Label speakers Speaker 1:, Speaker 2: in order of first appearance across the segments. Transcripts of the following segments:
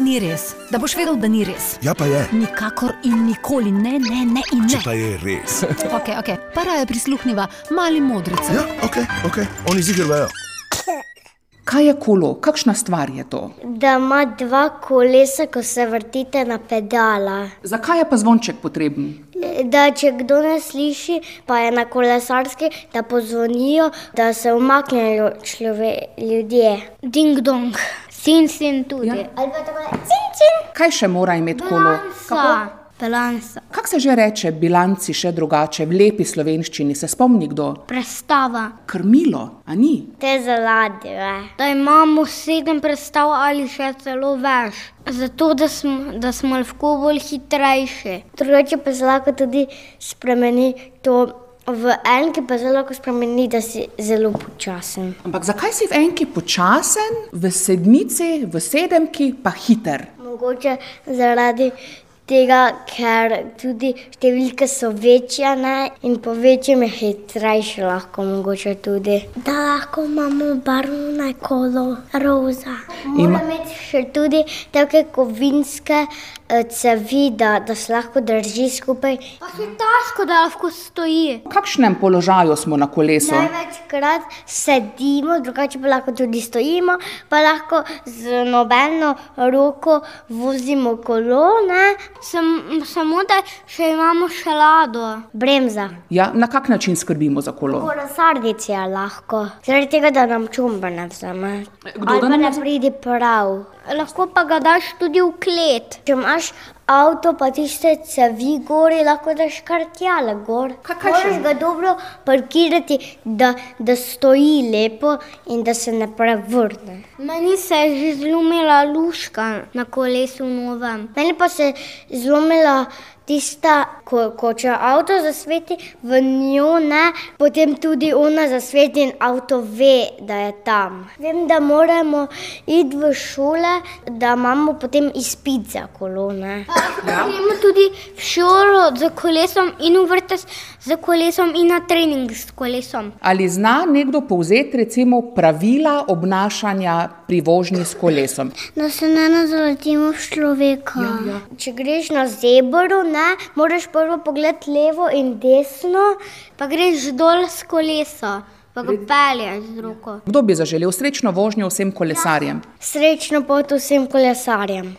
Speaker 1: ni res, da boš vedel, da ni res.
Speaker 2: Ja, pa je.
Speaker 1: Nikakor in nikoli ne, ne, ne in
Speaker 2: Če
Speaker 1: ne.
Speaker 2: pa je res.
Speaker 1: Okay, okay. Para je prisluhnila, mali modrice.
Speaker 2: Ja, ok, ok, oni zigrajo.
Speaker 3: Kaj je kolo, kakšna stvar je to?
Speaker 4: Da ima dva kolesa, ko se vrtite na pedala.
Speaker 3: Zakaj je pa zvonček potreben?
Speaker 4: Da če kdo ne sliši, pa je na kolesarski, da pozvonijo, da se umaknejo člove, ljudje. Ding dong, sin sin tudi.
Speaker 3: Ja.
Speaker 4: Ali pa tako, sin sin.
Speaker 3: Kaj še mora imeti kolo?
Speaker 4: Balansa. Balansa.
Speaker 3: Kako se že reče, bilanci še drugače, v lepi slovenščini se spomni kdo?
Speaker 4: Prestava.
Speaker 3: Krmilo, a ni?
Speaker 4: Te zaladje. Da imamo sedem predstav ali še celo več. Zato, da smo, da smo lahko bolj hitrejši. Drugače pa se lahko tudi spremeni to v en, ki pa se lahko spremeni, da si zelo počasen.
Speaker 3: Ampak zakaj si v enki počasen, v sedmici, v sedemki pa hiter?
Speaker 4: Mogoče zaradi tega, ker tudi številke so večje ne? in po večjem je hitrejši lahko mogoče tudi. Da lahko imamo barvno na kolo, roza. Mora imeti še tudi take kovinske eh, cevi, da, da se lahko drži skupaj. Pa še taško, da lahko stoji.
Speaker 3: V kakšnem položaju smo na kolesu?
Speaker 4: Največkrat sedimo, drugače pa lahko tudi stojimo, pa lahko z nobeno roko vozimo kolone. Sam, samo da še imamo šelado. Bremza.
Speaker 3: Ja, na kak način skrbimo za kolo?
Speaker 4: Kolesarnici je lahko, zaradi tega, da nam čumba ne vzame.
Speaker 3: Kdo
Speaker 4: Ali
Speaker 3: ga
Speaker 4: pa
Speaker 3: ne
Speaker 4: ne pride prav. Lahko pa ga daš tudi v klet. Če imaš avto, pa tiste cevi gori, lahko daš kar tjale gor.
Speaker 3: Kaj- kaj še?
Speaker 4: Moraš ga dobro parkirati, da, da stoji lepo in da se ne prevrne. Meni se je že zlomila luška na kolesu novem. Meni pa se je zlomila tista, ko, ko če avto zasveti v njo, ne, potem tudi ona zasveti in avto ve, da je tam. Vem, da moramo iti v šole, da imamo potem izpit za kolone. Gremo tudi v šolo z kolesom in v vrtec z kolesom in na trening s kolesom.
Speaker 3: Ali zna nekdo povzeti recimo pravila obnašanja pri vožnji s kolesom?
Speaker 4: Da se ne nazadimo v človeka. Ja, ja. Če greš na zebro, ne, moraš prvo pogled levo in desno, pa greš dol s koleso, pa ga pelješ z roko.
Speaker 3: Kdo bi zaželel srečno vožnjo vsem kolesarjem?
Speaker 4: Srečno pot vsem kolesarjem.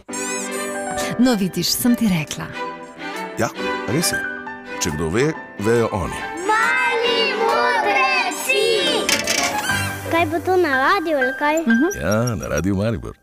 Speaker 1: No, vidiš, sem ti rekla.
Speaker 2: Ja, res je. Če kdo ve, vejo oni.
Speaker 4: Mali modri si! Kaj bo to na radiju ali kaj?
Speaker 2: Ja, na radiju Maribor.